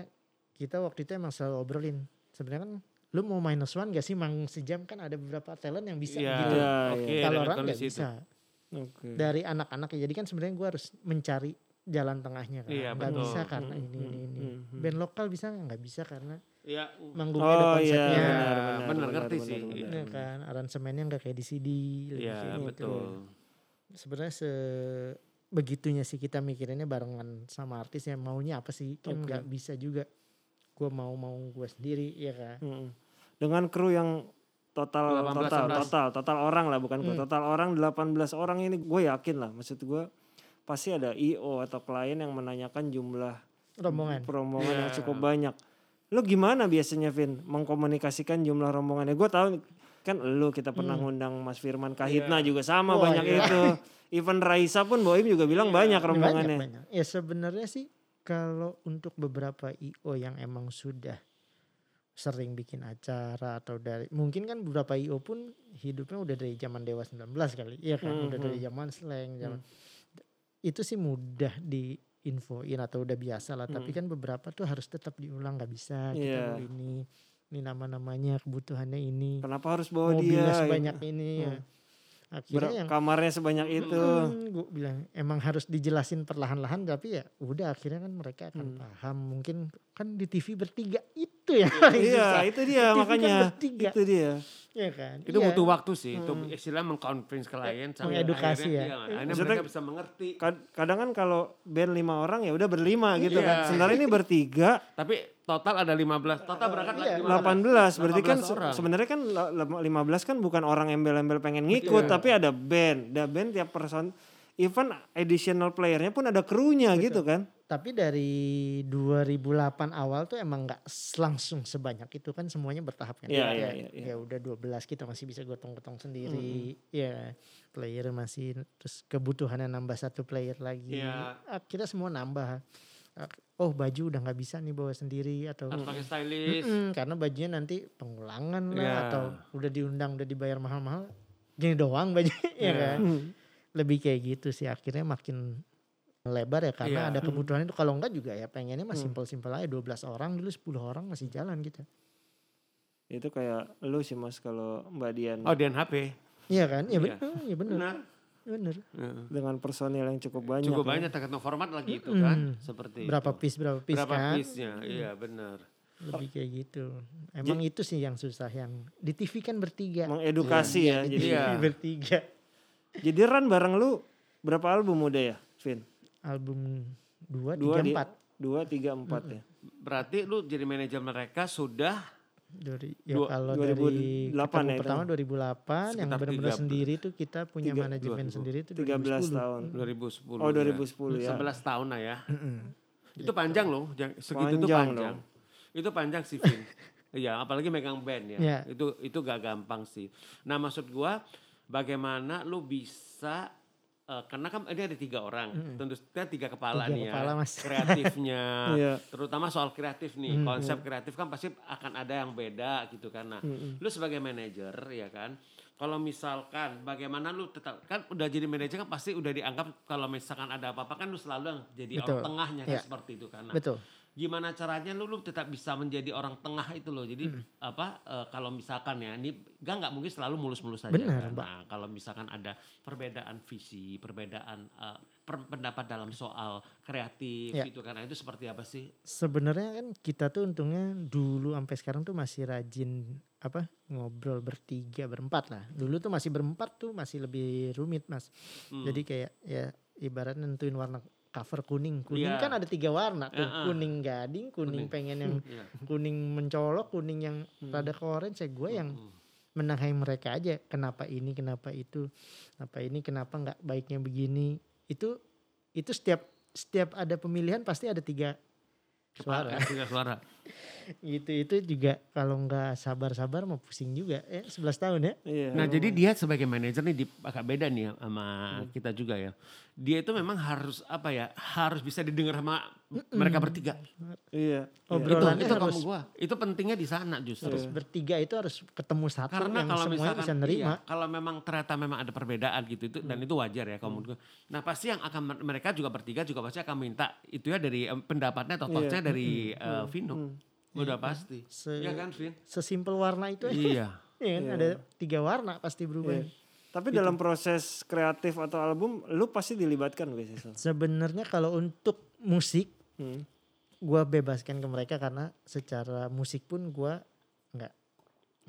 S3: kita waktu itu emang selalu obrolin sebenarnya kan lu mau minus one gak sih mang sejam kan ada beberapa talent yang bisa
S2: Iya,
S3: gitu
S1: Iya,
S2: Oke,
S1: iya.
S3: kalau
S2: dari
S3: orang gak
S2: kondisi itu. Hmm.
S3: bisa
S1: Oke.
S3: dari anak-anak ya jadi kan sebenarnya gua harus mencari jalan tengahnya kan
S2: Iya,
S3: nggak
S2: betul. hmm,
S3: bisa karena
S1: Mm,
S3: ini
S1: mm,
S3: ini ini
S1: mm, mm.
S3: band lokal bisa nggak Nggak bisa karena
S2: Iya.
S3: manggungnya
S1: Oh
S3: ada
S1: iya,
S3: konsepnya
S2: Iya,
S1: benar, benar,
S2: benar,
S1: benar,
S2: ngerti
S1: benar,
S2: sih.
S1: benar.
S3: ya kan aransemennya nggak kayak di CD lebih
S2: Iya,
S3: kayak gitu.
S2: betul.
S3: sebenarnya se begitunya sih kita mikirinnya barengan sama artis yang maunya apa sih kan
S1: Oke.
S3: nggak bisa juga gue mau mau gue sendiri ya kan
S1: Mm. Dengan kru yang total
S2: 18,
S1: total
S2: 18.
S1: total total orang lah bukan kru
S3: Mm.
S1: total orang 18 orang ini gue yakin lah maksud gue pasti ada IO atau klien yang menanyakan jumlah
S3: rombongan
S1: rombongan yang
S2: Iya.
S1: cukup banyak. Lo gimana biasanya Vin mengkomunikasikan jumlah rombongannya? Gue tahu kan lo kita pernah ngundang Mas Firman
S2: Iya.
S1: Kahitna juga sama
S3: Mm. Wah,
S1: banyak
S3: iya.
S1: itu. Even Raisa pun Boim juga bilang banyak
S3: Ini
S1: rombongannya.
S3: banyak. ya sebenarnya sih kalau untuk beberapa io yang emang sudah sering bikin acara atau dari mungkin kan beberapa io pun hidupnya udah dari zaman dewa 19 kali ya kan udah dari
S1: Mhm.
S3: zaman slang zaman itu sih mudah diinfoin atau udah biasa lah tapi kan beberapa tuh harus tetap diulang nggak bisa kita
S1: Mm. Iya.
S3: mau ini ini nama-namanya kebutuhannya ini
S1: Kenapa harus bawa dia?
S3: mobilnya
S1: gitu.
S3: sebanyak ini ya.
S1: Hmm.
S3: akhirnya
S1: Ber-
S3: yang
S1: kamarnya sebanyak
S2: [LAUGHS]
S1: itu.
S3: gue Hmm, bilang emang harus dijelasin perlahan-lahan tapi ya udah akhirnya kan mereka akan
S1: Hmm.
S3: paham mungkin kan di TV bertiga itu ya paling susah.
S1: Iya, itu dia
S3: TV kan
S1: makanya.
S3: bertiga.
S1: Itu dia.
S3: ya kan
S2: Itu
S3: Iya.
S2: butuh waktu sih. Itu istilah mengconvince klien sampai akhirnya-
S3: Mengedukasi ya.
S2: iya, Akhirnya
S1: Maksudnya-
S2: mereka bisa mengerti.
S1: Kad- Kadang kan kalau band lima orang ya udah berlima gitu
S2: Iya.
S1: kan. Sementara ini bertiga
S2: Tapi total ada 15. Total berangkat
S3: Iya.
S1: 18 berarti kan
S2: 18
S1: se-
S2: orang.
S1: sebenarnya kan la- la- 15 kan bukan orang embel-embel pengen ngikut tapi ada band. Ada band tiap person even additional playernya pun ada krunya gitu kan.
S3: tapi dari 2008 awal tuh emang nggak s- langsung sebanyak itu kan semuanya bertahap kan
S1: Iya, iya,
S3: Ya, ya,
S1: iya, Hmm, iya.
S3: ya udah 12 kita masih bisa gotong-gotong sendiri ya player masih terus kebutuhannya nambah satu player lagi
S2: Iya.
S3: akhirnya semua nambah Ak- oh baju udah nggak bisa nih bawa sendiri atau
S2: Harus pakai stylist.
S3: Mm-mm, Hmm, karena bajunya nanti pengulangan lah
S2: Iya.
S3: atau udah diundang udah dibayar mahal-mahal gini doang baju [LAUGHS] ya
S2: Iya.
S3: kan
S1: Hmm.
S3: lebih kayak gitu sih akhirnya makin lebar ya karena
S2: Iya.
S3: ada kebutuhan itu kalau enggak juga ya pengennya mah simpel-simpel aja 12 orang dulu 10 orang masih jalan gitu
S1: Itu kayak lu sih Mas kalau Mbak Dian
S2: Oh, DNHP.
S3: iya kan
S2: Iya.
S3: ya, bener ya bener
S2: Benar.
S3: bener
S2: Heeh.
S1: dengan personil yang cukup banyak.
S2: Cukup
S1: ya.
S2: banyak tergantung format lagi itu kan. Seperti
S3: Hmm. berapa
S2: itu.
S3: piece berapa piece
S2: Berapa
S3: kan
S2: piece-nya? Iya, benar.
S3: lebih kayak gitu emang itu sih yang susah yang di TV kan bertiga
S1: Mengedukasi ya. Jadi
S2: Iya.
S3: [LAUGHS] bertiga
S1: jadi run bareng lu berapa album udah ya, Vin?
S3: album 2
S1: Dua
S3: 3
S1: di-
S3: 4
S1: Dua, tiga, empat ya.
S2: Berarti lu jadi manajer mereka sudah
S3: dari ya
S2: Dua-
S3: kalau
S1: 2008
S3: dari
S1: ya
S3: ketemu
S1: itu.
S3: pertama 2008 yang
S2: kan? Sekitar
S3: benar-benar
S2: 13.
S3: sendiri tuh kita punya
S1: Tiga-
S3: manajemen
S2: 2000.
S3: sendiri tuh
S1: 13 tahun.
S2: 2010.
S1: Oh,
S2: ya.
S1: 2010 ya.
S2: 11 tahun lah ya. Itu panjang loh, jang- segitu tuh
S1: Panjang
S2: panjang. Itu panjang sih Vin. [LAUGHS] Iya, apalagi megang band ya.
S3: Iya.
S2: Itu itu gak gampang sih. Nah, maksud gua bagaimana lu bisa eh, karena kan ini ada tiga orang,
S3: Mm-mm.
S2: tentu saja tiga kepala nih
S3: Tiga kepala,
S2: ya.
S3: Mas.
S2: Kreatifnya,
S3: [LAUGHS]
S1: Iya.
S2: terutama soal kreatif nih,
S3: Mm,
S2: konsep kreatif kan pasti akan ada yang beda gitu kan. Nah,
S3: Hmm,
S1: Mm-mm.
S2: lu sebagai manajer ya kan, kalau misalkan bagaimana lu tetap kan udah jadi manajer kan pasti udah dianggap kalau misalkan ada apa-apa kan lu selalu yang jadi
S3: Betul.
S2: orang tengahnya kan
S3: Iya.
S2: seperti itu kan. Nah,
S3: Betul.
S2: gimana caranya lu, lu tetap bisa menjadi orang tengah itu loh jadi
S3: Hmm.
S2: apa eh, kalau misalkan ya ini gak nggak mungkin selalu mulus-mulus saja kan?
S3: Benar, Mbak.
S2: Nah, kalau misalkan ada perbedaan visi perbedaan eh, per- pendapat dalam soal kreatif
S3: Ya.
S2: gitu kan Nah, itu seperti apa sih
S3: Sebenarnya kan kita tuh untungnya dulu sampai sekarang tuh masih rajin apa ngobrol bertiga berempat lah. Dulu tuh masih berempat tuh masih lebih rumit mas.
S2: Hmm.
S3: Jadi kayak ya ibarat nentuin warna cover kuning. Kuning
S2: Iya.
S3: kan ada tiga warna tuh.
S2: Heeh.
S3: Kuning gading, kuning,
S2: Kuning.
S3: pengen yang
S2: Iya.
S3: kuning mencolok, kuning yang
S1: Hmm.
S3: rada ke orange. Ya gue yang
S2: Mm.
S3: menengahi mereka aja. Kenapa ini, kenapa itu, kenapa ini, kenapa nggak baiknya begini. Itu itu setiap setiap ada pemilihan pasti ada tiga
S2: Kepala,
S3: suara.
S2: tiga suara
S3: [LAUGHS] Gitu itu juga kalau nggak sabar-sabar mau pusing juga. Eh 11 tahun ya.
S1: Iya.
S2: Nah jadi dia sebagai manajer nih di, agak beda nih ya sama
S3: Hmm.
S2: kita juga ya. Dia itu memang harus apa ya harus bisa didengar sama mereka bertiga.
S1: iya.
S2: Itu
S3: Obrolannya
S2: itu kamu
S3: Hmm. harus-
S2: gua. Itu pentingnya di sana justru.
S1: Iya.
S3: Bertiga itu harus ketemu satu
S2: Karena
S3: yang
S2: kalau
S3: semuanya
S2: misalkan
S3: bisa nerima.
S2: iya, kalau memang ternyata memang ada perbedaan gitu itu dan itu wajar ya kamu. Nah pasti yang akan mereka juga bertiga juga pasti akan minta itu ya dari eh, pendapatnya atau
S1: Iya.
S2: thoughts-nya dari eh, Vino.
S1: Hmm.
S2: Udah pasti.
S3: Se-
S2: Iya kan Vin?
S3: Sesimpel warna itu aja.
S2: iya.
S3: [LAUGHS] Iya
S1: Iya.
S3: kan? Ada tiga warna pasti berubah.
S1: Iya. Tapi dalam proses kreatif atau album, lu pasti dilibatkan biasanya. Sal.
S3: Sebenarnya kalau untuk musik
S1: Hmm.
S3: gua bebaskan ke mereka karena secara musik pun gua nggak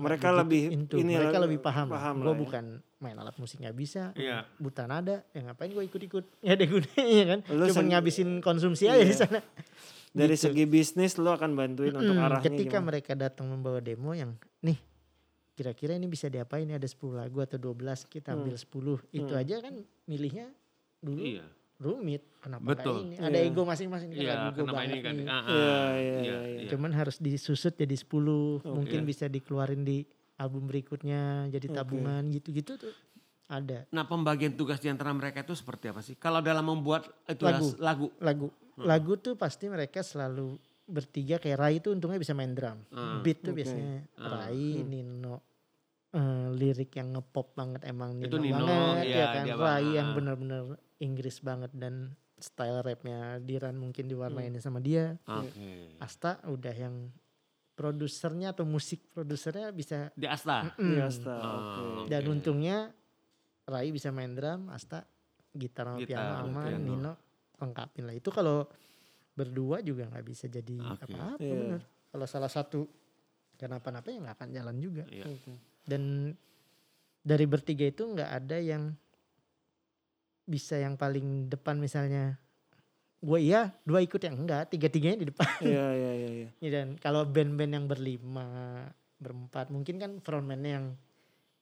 S1: Mereka
S3: begitu
S1: lebih
S3: into.
S1: ini
S3: Gitu, Nah, mereka
S1: lah,
S3: lebih paham, lah.
S1: paham
S3: gua
S1: lah ya.
S3: bukan main alat musik nggak bisa
S2: Iya.
S3: buta nada ya ngapain gua ikut-ikut [LAUGHS] nggak ada gunanya kan
S1: Lu
S3: cuman
S1: sen-
S3: ngabisin konsumsi
S1: Iya.
S3: aja di sana
S1: Dari
S3: Gitu.
S1: segi bisnis lu akan bantuin untuk
S3: Mm,
S1: arahnya
S3: ketika
S1: gimana.
S3: mereka datang membawa demo yang nih kira-kira ini bisa diapain ini ada 10 lagu atau 12 kita ambil 10 itu
S1: Hmm.
S3: aja kan milihnya dulu
S2: Iya.
S3: rumit kenapa
S2: Betul.
S3: nggak ini ada
S1: Iya.
S3: ego masing-masing Ini
S2: Iya,
S3: lagu gua
S2: kenapa ini
S3: banget
S2: kan?
S3: nih.
S2: Ah, ah,
S1: Iya, iya,
S2: iya,
S1: iya,
S2: iya.
S3: Cuman harus disusut jadi 10, mungkin
S2: Iya.
S3: bisa dikeluarin di album berikutnya jadi
S1: Oke.
S3: tabungan gitu-gitu tuh ada
S2: Nah pembagian tugas di antara mereka itu seperti apa sih? Kalau dalam membuat itu
S3: Lagu.
S2: lagu, lagu.
S3: lagu. Lagu tuh pasti mereka selalu bertiga kayak Rai tuh untungnya bisa main drum.
S2: Hmm.
S3: Beat tuh
S1: Oke.
S3: biasanya
S2: Hmm.
S3: Rai,
S1: Hmm.
S3: Nino eh, lirik yang ngepop banget emang Nino,
S2: Itu Nino,
S3: banget
S2: iya,
S3: ya kan.
S2: dia
S3: Rai
S2: banget.
S3: yang bener-bener Inggris banget dan style rapnya Diran mungkin diwarnain sama dia.
S2: ah. Oke.
S3: Asta udah yang produsernya atau musik produsernya bisa
S2: Di Asta.
S1: Iya,
S3: mm,
S1: Asta,
S2: Ah,
S1: oke.
S3: dan
S2: Oke.
S3: untungnya Rai bisa main drum, Asta gitar sama
S2: Gitar,
S3: piano aman,
S2: piano.
S3: Nino lengkapin lah. Itu kalau berdua juga nggak bisa jadi
S2: Oke.
S3: apa-apa
S1: Iya.
S3: bener. Kalau salah satu kenapa-napa ya nggak akan jalan juga.
S2: Iya.
S1: Oke.
S3: Dan dari bertiga itu nggak ada yang bisa yang paling depan misalnya gue iya dua ikut yang enggak tiga tiganya di depan
S1: Iya, iya, iya, iya.
S3: Ya, dan kalau band-band yang berlima, berempat, mungkin kan frontman-nya yang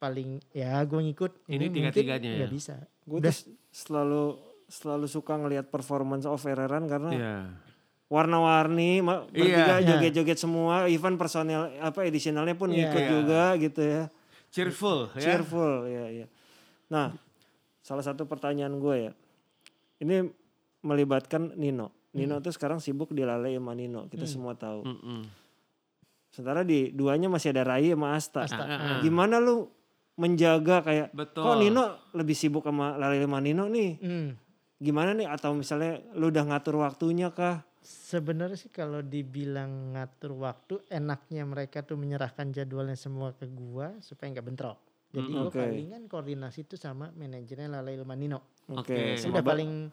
S3: paling ya gue ngikut.
S2: Ini
S3: mungkin
S2: tiga-tiganya ya?
S3: nggak bisa.
S1: Gue
S3: Udah.
S1: tuh selalu selalu suka ngelihat performance of Ereran karena
S2: Iya.
S1: warna-warni ma- bertiga
S3: Iya.
S1: joget-joget semua even personel apa edisionalnya pun
S3: Iya.
S1: ngikut
S2: Iya.
S1: juga gitu ya
S2: Cheerful ya.
S1: cheerful ya ya nah salah satu pertanyaan gue ya ini melibatkan Nino Nino
S2: Hmm.
S1: tuh sekarang sibuk di Lale sama Nino kita semua tahu
S2: Mm-mm.
S1: sementara di duanya masih ada Rai sama Asta,
S3: Asta,
S2: Ah, ah.
S1: gimana lu menjaga kayak
S2: Betul.
S1: kok Nino lebih sibuk sama Lale sama Nino nih
S3: Hmm,
S1: gimana nih atau misalnya lu udah ngatur waktunya kah
S3: Sebenarnya sih kalau dibilang ngatur waktu, enaknya mereka tuh menyerahkan jadwalnya semua ke gua supaya nggak bentrok. Jadi
S2: Mm,
S3: gue
S1: oke.
S3: palingan koordinasi itu sama manajernya Lala Ilmanino.
S2: Oke.
S1: sama
S3: Sudah
S1: Ba-
S3: paling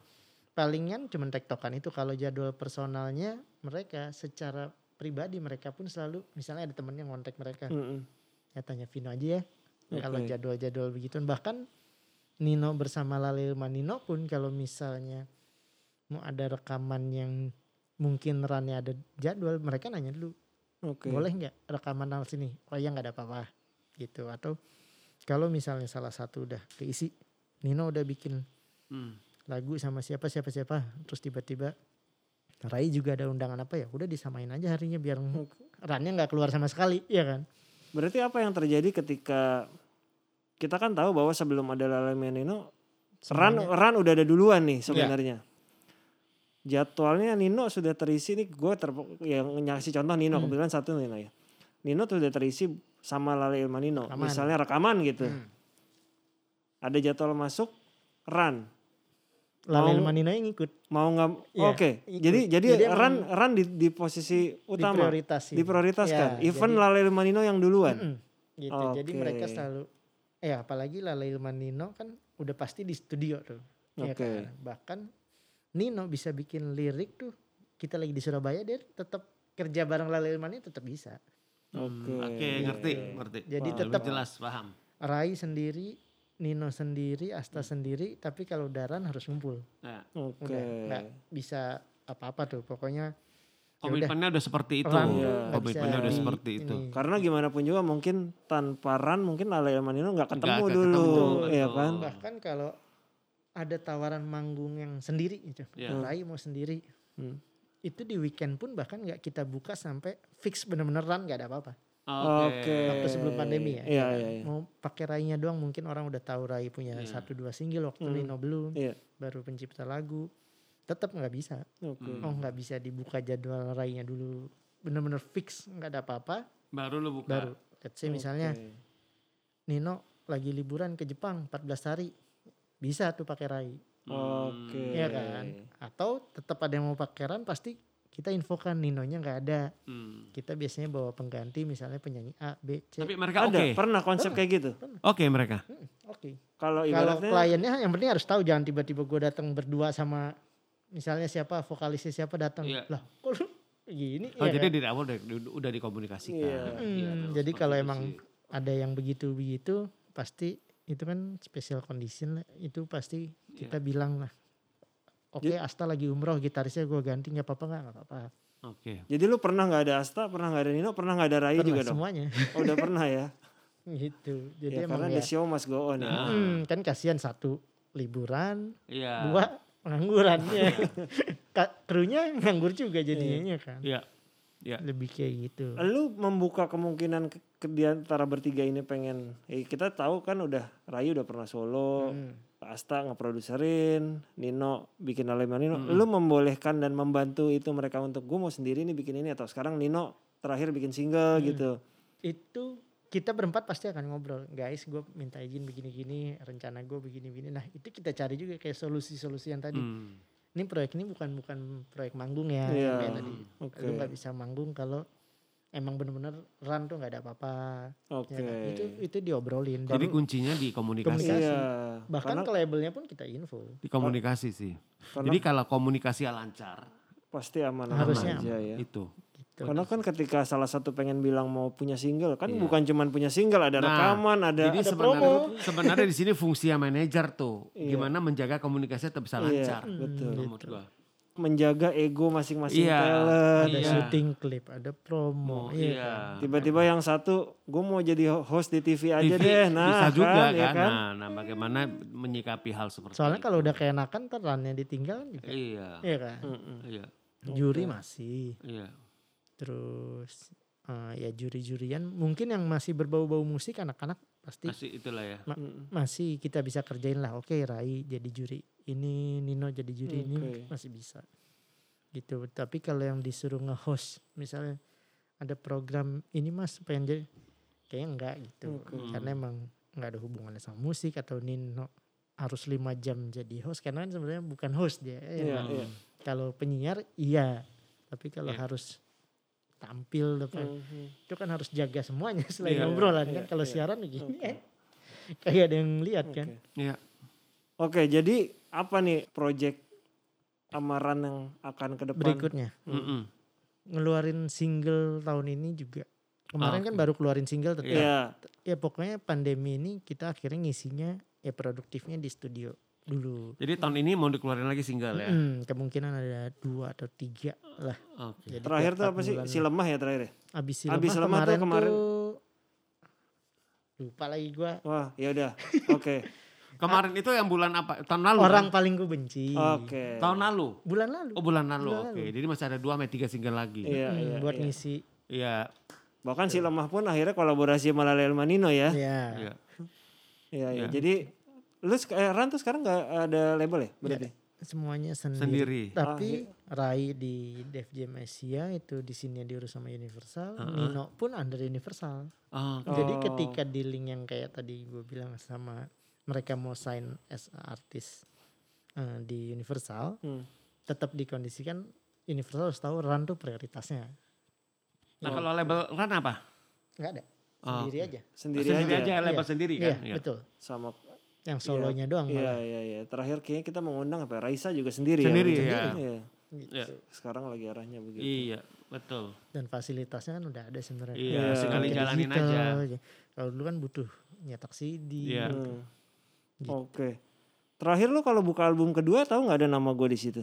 S3: palingan cuman tektokan itu kalau jadwal personalnya mereka secara pribadi mereka pun selalu misalnya ada temennya ngontek mereka
S1: Mm-mm.
S3: ya tanya Vino aja ya kalau
S1: Oke.
S3: jadwal-jadwal begitu bahkan Nino bersama Lalil Manino pun kalau misalnya mau ada rekaman yang mungkin runnya ada jadwal mereka nanya dulu
S1: Oke.
S3: boleh nggak rekaman al sini oh ya nggak ada apa-apa gitu atau kalau misalnya salah satu udah keisi Nino udah bikin
S2: Mm.
S3: lagu sama siapa siapa siapa terus tiba-tiba Rai juga ada undangan apa ya udah disamain aja harinya biar
S1: Oke.
S3: runnya nggak keluar sama sekali ya kan
S1: Berarti apa yang terjadi ketika kita kan tahu bahwa sebelum ada Lale Nino, Ran,
S3: Semuanya- Iya.
S1: Ran udah ada duluan nih sebenarnya. Jadwalnya Nino sudah terisi nih gue ter yang nyaksi contoh Nino
S3: Hmm.
S1: kebetulan satu Nino ya. Nino tuh udah terisi sama Lale Ilmanino,
S3: Rekaman.
S1: misalnya rekaman gitu.
S3: Hmm.
S1: Ada jadwal masuk Ran
S3: Lalil
S1: Mau-
S3: Manino yang ngikut
S1: mau nggak
S3: Iya,
S1: oke
S3: ikut.
S1: jadi jadi,
S3: Jadi emang
S1: Ran Ran di, di posisi utama
S3: diprioritasin
S1: diprioritaskan
S3: Ya,
S1: even
S3: jadi-
S1: Lale Ilmanino yang duluan
S3: Mm-mm, gitu jadi
S1: Oke.
S3: mereka selalu eh apalagi Lalil Manino kan udah pasti di studio tuh ya
S1: Oke.
S3: kan? bahkan Nino bisa bikin lirik tuh kita lagi di Surabaya dia tetap kerja bareng Lalil Manino tetap bisa
S1: Oke.
S2: Oke, ngerti, ngerti.
S3: Jadi
S2: Lebih
S3: tetap-
S2: jelas paham.
S3: Rai sendiri Nino sendiri Asta sendiri tapi kalau Daran harus ngumpul
S2: Nah,
S1: Oke.
S3: Ya udah nggak bisa apa-apa tuh pokoknya
S2: komitmennya udah seperti itu.
S3: Ran
S1: Iya.
S3: nggak
S2: Komitmennya
S3: bisa
S2: udah
S3: di-
S2: seperti itu.
S3: ini.
S1: Karena gimana pun juga mungkin tanpa Ran mungkin Lale Ilmanino nggak
S2: Nggak
S1: ketemu
S2: akan
S1: dulu,
S2: ketemu,
S1: ya
S2: betul.
S1: kan?
S3: bahkan kalau ada tawaran manggung yang sendiri gitu
S2: Iya.
S3: Rai mau sendiri
S1: Ya. Hmm.
S3: itu di weekend pun bahkan nggak kita buka sampai fix bener-bener run nggak ada apa-apa
S1: Oke.
S3: waktu sebelum pandemi ya,
S1: Eh, Iya,
S3: kan?
S1: iya, iya.
S3: mau pakai Rai-nya doang mungkin orang udah tahu Rai punya
S2: Iya.
S3: satu dua single waktu
S1: Hmm.
S3: Lino belum
S1: Iya.
S3: baru pencipta lagu tetap nggak bisa
S1: Oke.
S2: Hmm.
S3: oh nggak bisa dibuka jadwal Rai-nya dulu bener-bener fix nggak ada apa-apa
S2: Baru lu buka.
S3: baru let's say misalnya
S1: Oke.
S3: Nino lagi liburan ke Jepang 14 hari bisa tuh pakai Rai
S2: Hmm.
S1: Oke.
S3: Iya kan? Atau tetap ada yang mau pakeran pasti kita infokan Ninonya nggak ada.
S2: Hmm.
S3: Kita biasanya bawa pengganti misalnya penyanyi A, B, C.
S2: Tapi mereka oke.
S1: Ada pernah konsep kayak gitu.
S2: Oke mereka.
S3: Hmm, Oke.
S2: Oh,
S1: Kalau
S3: Kalau
S1: ibaratnya
S3: kliennya yang penting harus tahu jangan tiba-tiba gue datang berdua sama misalnya siapa vokalisnya siapa datang.
S2: Iya.
S3: Lah, kok lu gini?
S2: Oh,
S3: Iya
S2: jadi
S3: kan?
S2: dari awal udah, udah dikomunikasikan.
S1: Iya.
S3: Hmm,
S2: Iya, betul,
S3: jadi
S2: seperti
S3: kalau
S2: itu
S3: emang
S2: sih.
S3: ada yang begitu-begitu pasti itu kan special condition lah. Itu pasti
S2: Iya.
S3: kita bilang lah. Oke, Asta lagi umroh gitarisnya gue ganti nggak apa-apa nggak? Nggak apa-apa.
S2: Oke.
S1: jadi lu pernah nggak ada Asta, pernah nggak ada Nino, pernah nggak ada Rai
S3: Pernah
S1: juga dong?
S3: semuanya.
S1: Oh, udah pernah
S3: [LAUGHS]
S1: ya.
S3: gitu
S1: ya
S3: jadi emang
S1: karena
S3: ya,
S1: the show must go on ya.
S2: Nah.
S3: hmm, kan kasihan satu liburan
S2: Iya.
S1: Ah.
S3: dua
S1: [LAUGHS]
S3: penganggurannya [LAUGHS] Ka- krunya nganggur juga jadinya kan
S2: Iya. Iya.
S3: lebih kayak gitu
S2: Nah.
S1: Lu membuka kemungkinan ke, ke di antara bertiga ini pengen eh, kita tahu kan udah Rai udah pernah solo,
S3: Hmm.
S1: Asta ngeproduserin, Nino bikin Alema Nino. Lu membolehkan dan membantu itu mereka untuk gue mau sendiri nih bikin ini atau sekarang Nino terakhir bikin
S2: Mm.
S1: single gitu.
S3: itu kita berempat pasti akan ngobrol guys gue minta izin begini-gini rencana gue begini-gini nah itu kita cari juga kayak solusi-solusi yang tadi
S2: Hmm.
S3: ini proyek ini bukan bukan proyek manggung ya
S1: Iya.
S3: kayak tadi
S1: Oke.
S3: lu nggak bisa manggung kalau emang bener-bener run tuh nggak ada apa-apa
S1: Oke.
S3: ya kan? itu itu diobrolin
S2: Jadi
S3: Dan-
S2: kuncinya di komunikasi.
S3: Komunikasi.
S1: Iya. Bahkan
S3: bahkan ke labelnya pun kita info
S2: Di komunikasi sih.
S1: Karena-
S2: Jadi kalau komunikasi lancar
S1: pasti aman-aman
S3: Harusnya
S1: aja ya.
S2: itu.
S3: gitu
S1: Karena kan ketika salah satu pengen bilang mau punya single, kan bukan cuman punya single, ada
S2: Iya. Nah,
S1: rekaman, ada Iya.
S2: Jadi
S1: ada
S2: sebenarnya sebenarnya di sini fungsinya manajer tuh gimana menjaga komunikasi tetap bisa lancar.
S1: Iya, betul.
S2: Menurut gua.
S1: menjaga ego masing-masing
S2: Iya.
S1: talent.
S3: ada
S2: Iya.
S3: syuting klip ada
S2: Oh,
S3: promo iya kan?
S2: iya.
S1: Tiba-tiba yang satu, gue mau jadi ho- host di TV aja
S2: TV
S1: deh. Nah,
S2: bisa
S1: kan,
S2: juga kan.
S1: ya kan?
S2: Nah, nah, bagaimana menyikapi hal seperti itu?
S3: soalnya kalau udah keenakan ntar runnya ditinggal kan juga
S2: iya,
S3: iya kan
S2: iya,
S3: juri masih
S2: iya.
S3: terus eh, ya juri-jurian mungkin yang masih berbau-bau musik anak-anak pasti
S2: Masih itulah ya.
S3: ma- masih kita bisa kerjain lah oke Rai jadi juri ini Nino jadi juri ini
S1: Oke.
S3: masih bisa gitu tapi kalau yang disuruh nge-host misalnya ada program ini mas pengen jadi kayaknya enggak gitu
S1: Oke.
S3: karena emang enggak ada hubungannya sama musik atau Nino harus lima jam jadi host karena kan sebenarnya bukan host dia ya
S1: Iya,
S3: kan?
S2: Hmm.
S1: iya.
S3: kalau penyiar iya tapi kalau
S2: Iya.
S3: harus tampil depan
S1: Mhm.
S3: itu kan harus jaga semuanya [LAUGHS] selain
S2: Iya,
S3: obrolan
S1: iya,
S3: kan kalau
S1: iya.
S3: siaran begini
S1: Oke.
S3: eh kayak ada yang lihat kan
S1: Oke.
S2: Iya.
S1: Oke, jadi apa nih project amaran yang akan ke depan?
S3: berikutnya
S2: Mm-mm.
S3: ngeluarin single tahun ini juga kemarin
S2: Ah,
S3: kan baru keluarin single tetap
S1: Iya.
S3: ya pokoknya pandemi ini kita akhirnya ngisinya ya produktifnya di studio dulu
S2: Jadi tahun ini mau dikeluarin lagi single
S1: Iya.
S2: ya.
S3: Mm, kemungkinan ada dua atau tiga lah
S2: Oke.
S3: Jadi
S1: Terakhir
S3: tiap
S1: tuh
S3: empat
S1: apa sih?
S3: bulan.
S1: Si lemah ya terakhir ya?
S3: abis si
S1: Abis
S3: lemah
S1: Lemah tuh
S3: kemarin,
S1: kemarin.
S3: tuh lupa lagi gua
S1: Wah, ya
S3: [LAUGHS]
S1: udah. Oke.
S2: Kemarin itu yang bulan apa? Tahun lalu.
S3: orang
S2: kan?
S3: paling gue benci
S1: Oke.
S2: Tahun lalu.
S3: bulan lalu
S2: Oh bulan lalu.
S3: Bulan
S2: Oke. Jadi masih ada dua sampai tiga single lagi.
S1: Iya,
S3: Hmm,
S1: iya.
S3: buat
S1: iya.
S3: ngisi
S2: Iya,
S1: Bahkan si lemah pun akhirnya kolaborasi sama Lale El Manino ya.
S3: Iya.
S2: iya.
S1: Iya, iya.
S2: Iya.
S1: Jadi lu sek- eh, Ran tuh sekarang nggak ada label ya berarti?
S3: Iya. Semuanya sendiri.
S2: Sendiri. Ah, iya.
S3: Tapi Rai di Def Jam Asia itu di sini diurus sama Universal, Nino pun under Universal.
S2: Oh,
S3: Jadi
S1: Oh.
S3: ketika dealing yang kayak tadi gue bilang sama mereka mau sign as artis eh, di Universal,
S1: Hmm.
S3: tetap dikondisikan Universal harus tahu run tuh prioritasnya.
S2: nah kalau label Ran apa?
S3: Nggak ada.
S2: Oh,
S3: Sendiri aja.
S1: Sendiri, aja. ya?
S2: aja, label
S3: Iya.
S2: sendiri
S3: Iya,
S2: kan. Iya.
S3: betul.
S1: Sama
S3: Yang solonya doang
S1: Iya,
S3: malah.
S1: iya, iya. Terakhir kayaknya kita mengundang apa? ya, Raisa juga sendiri.
S2: Sendiri,
S1: ya.
S2: iya.
S1: Iya.
S3: Gitu.
S2: Iya.
S1: Sekarang lagi arahnya begitu.
S2: Iya, betul.
S3: Dan fasilitasnya kan udah ada sebenarnya.
S2: Iya,
S1: Iya.
S2: sekali
S1: Kayak
S2: jalanin
S3: Digital,
S2: aja.
S3: ya. Kalau dulu kan butuh nyetak CD.
S2: Iya.
S1: Hmm.
S3: Gitu.
S1: Oke. Terakhir lu kalau buka album kedua tahu nggak ada nama gue di situ?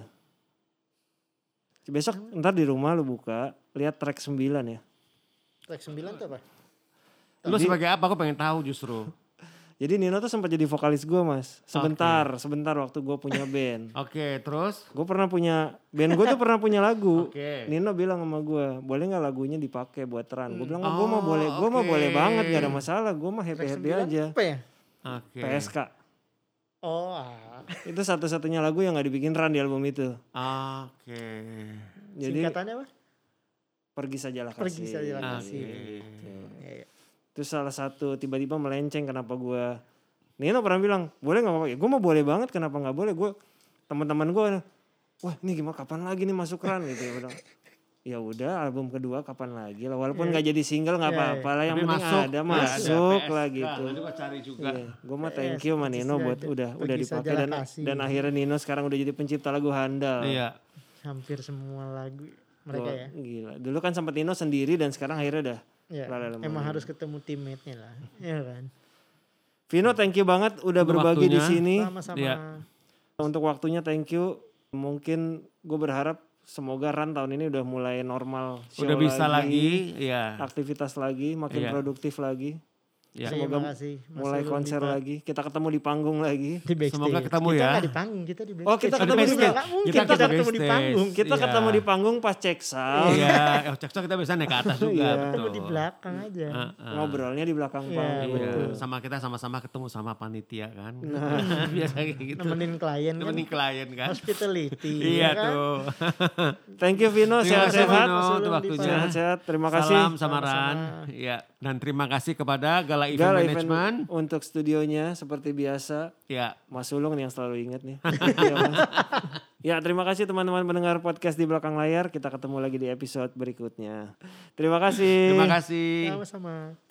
S1: Besok ntar di rumah lu buka, lihat track 9 ya.
S3: Track 9 tuh apa?
S2: Lu sebagai apa? Aku pengen tahu justru.
S1: Jadi Nino tuh sempat jadi vokalis gue mas. Sebentar, sebentar waktu gue punya band.
S2: Oke, terus?
S1: gue pernah punya band gue tuh pernah punya lagu.
S2: Oke.
S1: Nino bilang sama gue, boleh nggak lagunya dipakai buat Ran? Gue bilang, gue mah
S2: Oh,
S1: boleh, gue mah
S2: oke.
S1: boleh banget, gak ada masalah. Gue mah happy happy aja.
S3: Apa ya?
S2: Oke.
S1: PSK.
S3: Oh, ah.
S1: Itu satu-satunya lagu yang nggak dibikin Ran di album itu.
S2: Oke.
S1: Jadi
S3: singkatannya apa?
S1: pergi sajalah kasih.
S3: Pergi Sajalah Terima Kasih.
S2: Oke.
S3: Iya, iya.
S1: Terus salah satu tiba-tiba melenceng kenapa gua Nino pernah bilang boleh nggak apa-apa. Ya, gue mau boleh banget kenapa nggak boleh gue teman-teman gue wah ini gimana kapan lagi nih masuk keran gitu ya bilang ya udah album kedua kapan lagi lah walaupun nggak jadi single nggak
S3: Iya, iya.
S1: apa-apa lah yang
S2: Tapi
S1: penting ada masuk lah gitu
S2: Nanti gua cari Nah, juga.
S1: gue mah
S3: PS,
S1: thank you sama
S3: pergi
S1: Nino buat
S3: saja-
S1: udah
S3: pergi
S1: udah dipakai
S3: sajalah
S1: dan
S3: kasih.
S1: dan akhirnya Nino sekarang udah jadi pencipta lagu handal
S2: Iya.
S3: Hampir semua lagu mereka
S1: Gua-
S3: ya.
S1: gila dulu kan sempat Nino sendiri dan sekarang akhirnya udah
S3: Iya.
S1: Lala Lemon.
S3: Emang harus ketemu teammate-nya lah. Iya kan?
S1: Vino thank you banget udah
S2: Iya. Untuk
S1: berbagi di
S2: waktunya.
S1: sini
S3: Sama-sama.
S2: Iya.
S1: Untuk waktunya thank you. Mungkin gue berharap semoga Ran tahun ini udah mulai normal. show Nah,
S2: Udah bisa lagi, iya.
S1: Aktivitas lagi, makin
S2: Iya.
S1: produktif lagi.
S2: Iya.
S3: Terima kasih. Mas
S1: mulai
S3: Ulun
S1: konser
S3: Dipa.
S1: lagi. Kita ketemu di panggung lagi.
S3: Di backstage.
S2: Semoga ketemu
S3: kita
S2: ya.
S3: nggak di panggung, kita di backstage.
S1: Oh, kita ketemu di
S3: Nggak
S1: backstage.
S3: mungkin
S2: Kita
S3: kita,
S2: ketemu
S3: ketemu di
S2: backstage.
S3: panggung.
S1: Kita
S2: Iya.
S1: ketemu di panggung pas cek sound.
S2: Iya, eh, cocok kita bisa naik ke atas juga,
S1: Iya.
S2: betul.
S3: Ketemu di belakang aja.
S2: Ah, ah.
S1: Ngobrolnya di belakang
S3: Iya,
S1: panggung.
S2: Iya,
S3: Betul.
S2: sama kita sama-sama ketemu sama panitia kan. [LAUGHS] Biasa kayak gitu.
S3: Nemenin klien kan.
S2: Nemenin klien kan.
S3: Hospitality.
S2: Iya
S3: ya kan?
S2: tuh.
S1: Thank you Vino,
S2: Terima kasih
S1: sehat-sehat.
S2: Vino,
S3: Mas
S2: untuk
S3: Ulun,
S2: waktunya.
S1: Sehat-sehat, terima kasih.
S2: Salam sama Ran. Ya, dan terima kasih kepada Gala Event
S1: Gala event
S2: Management.
S1: untuk studionya seperti biasa.
S2: Ya,
S1: Mas Sulung nih yang selalu ingat nih. [LAUGHS] Iya, Mas. ya terima kasih teman-teman pendengar podcast di belakang layar. Kita ketemu lagi di episode berikutnya. Terima kasih.
S2: terima kasih.
S3: Sama-sama.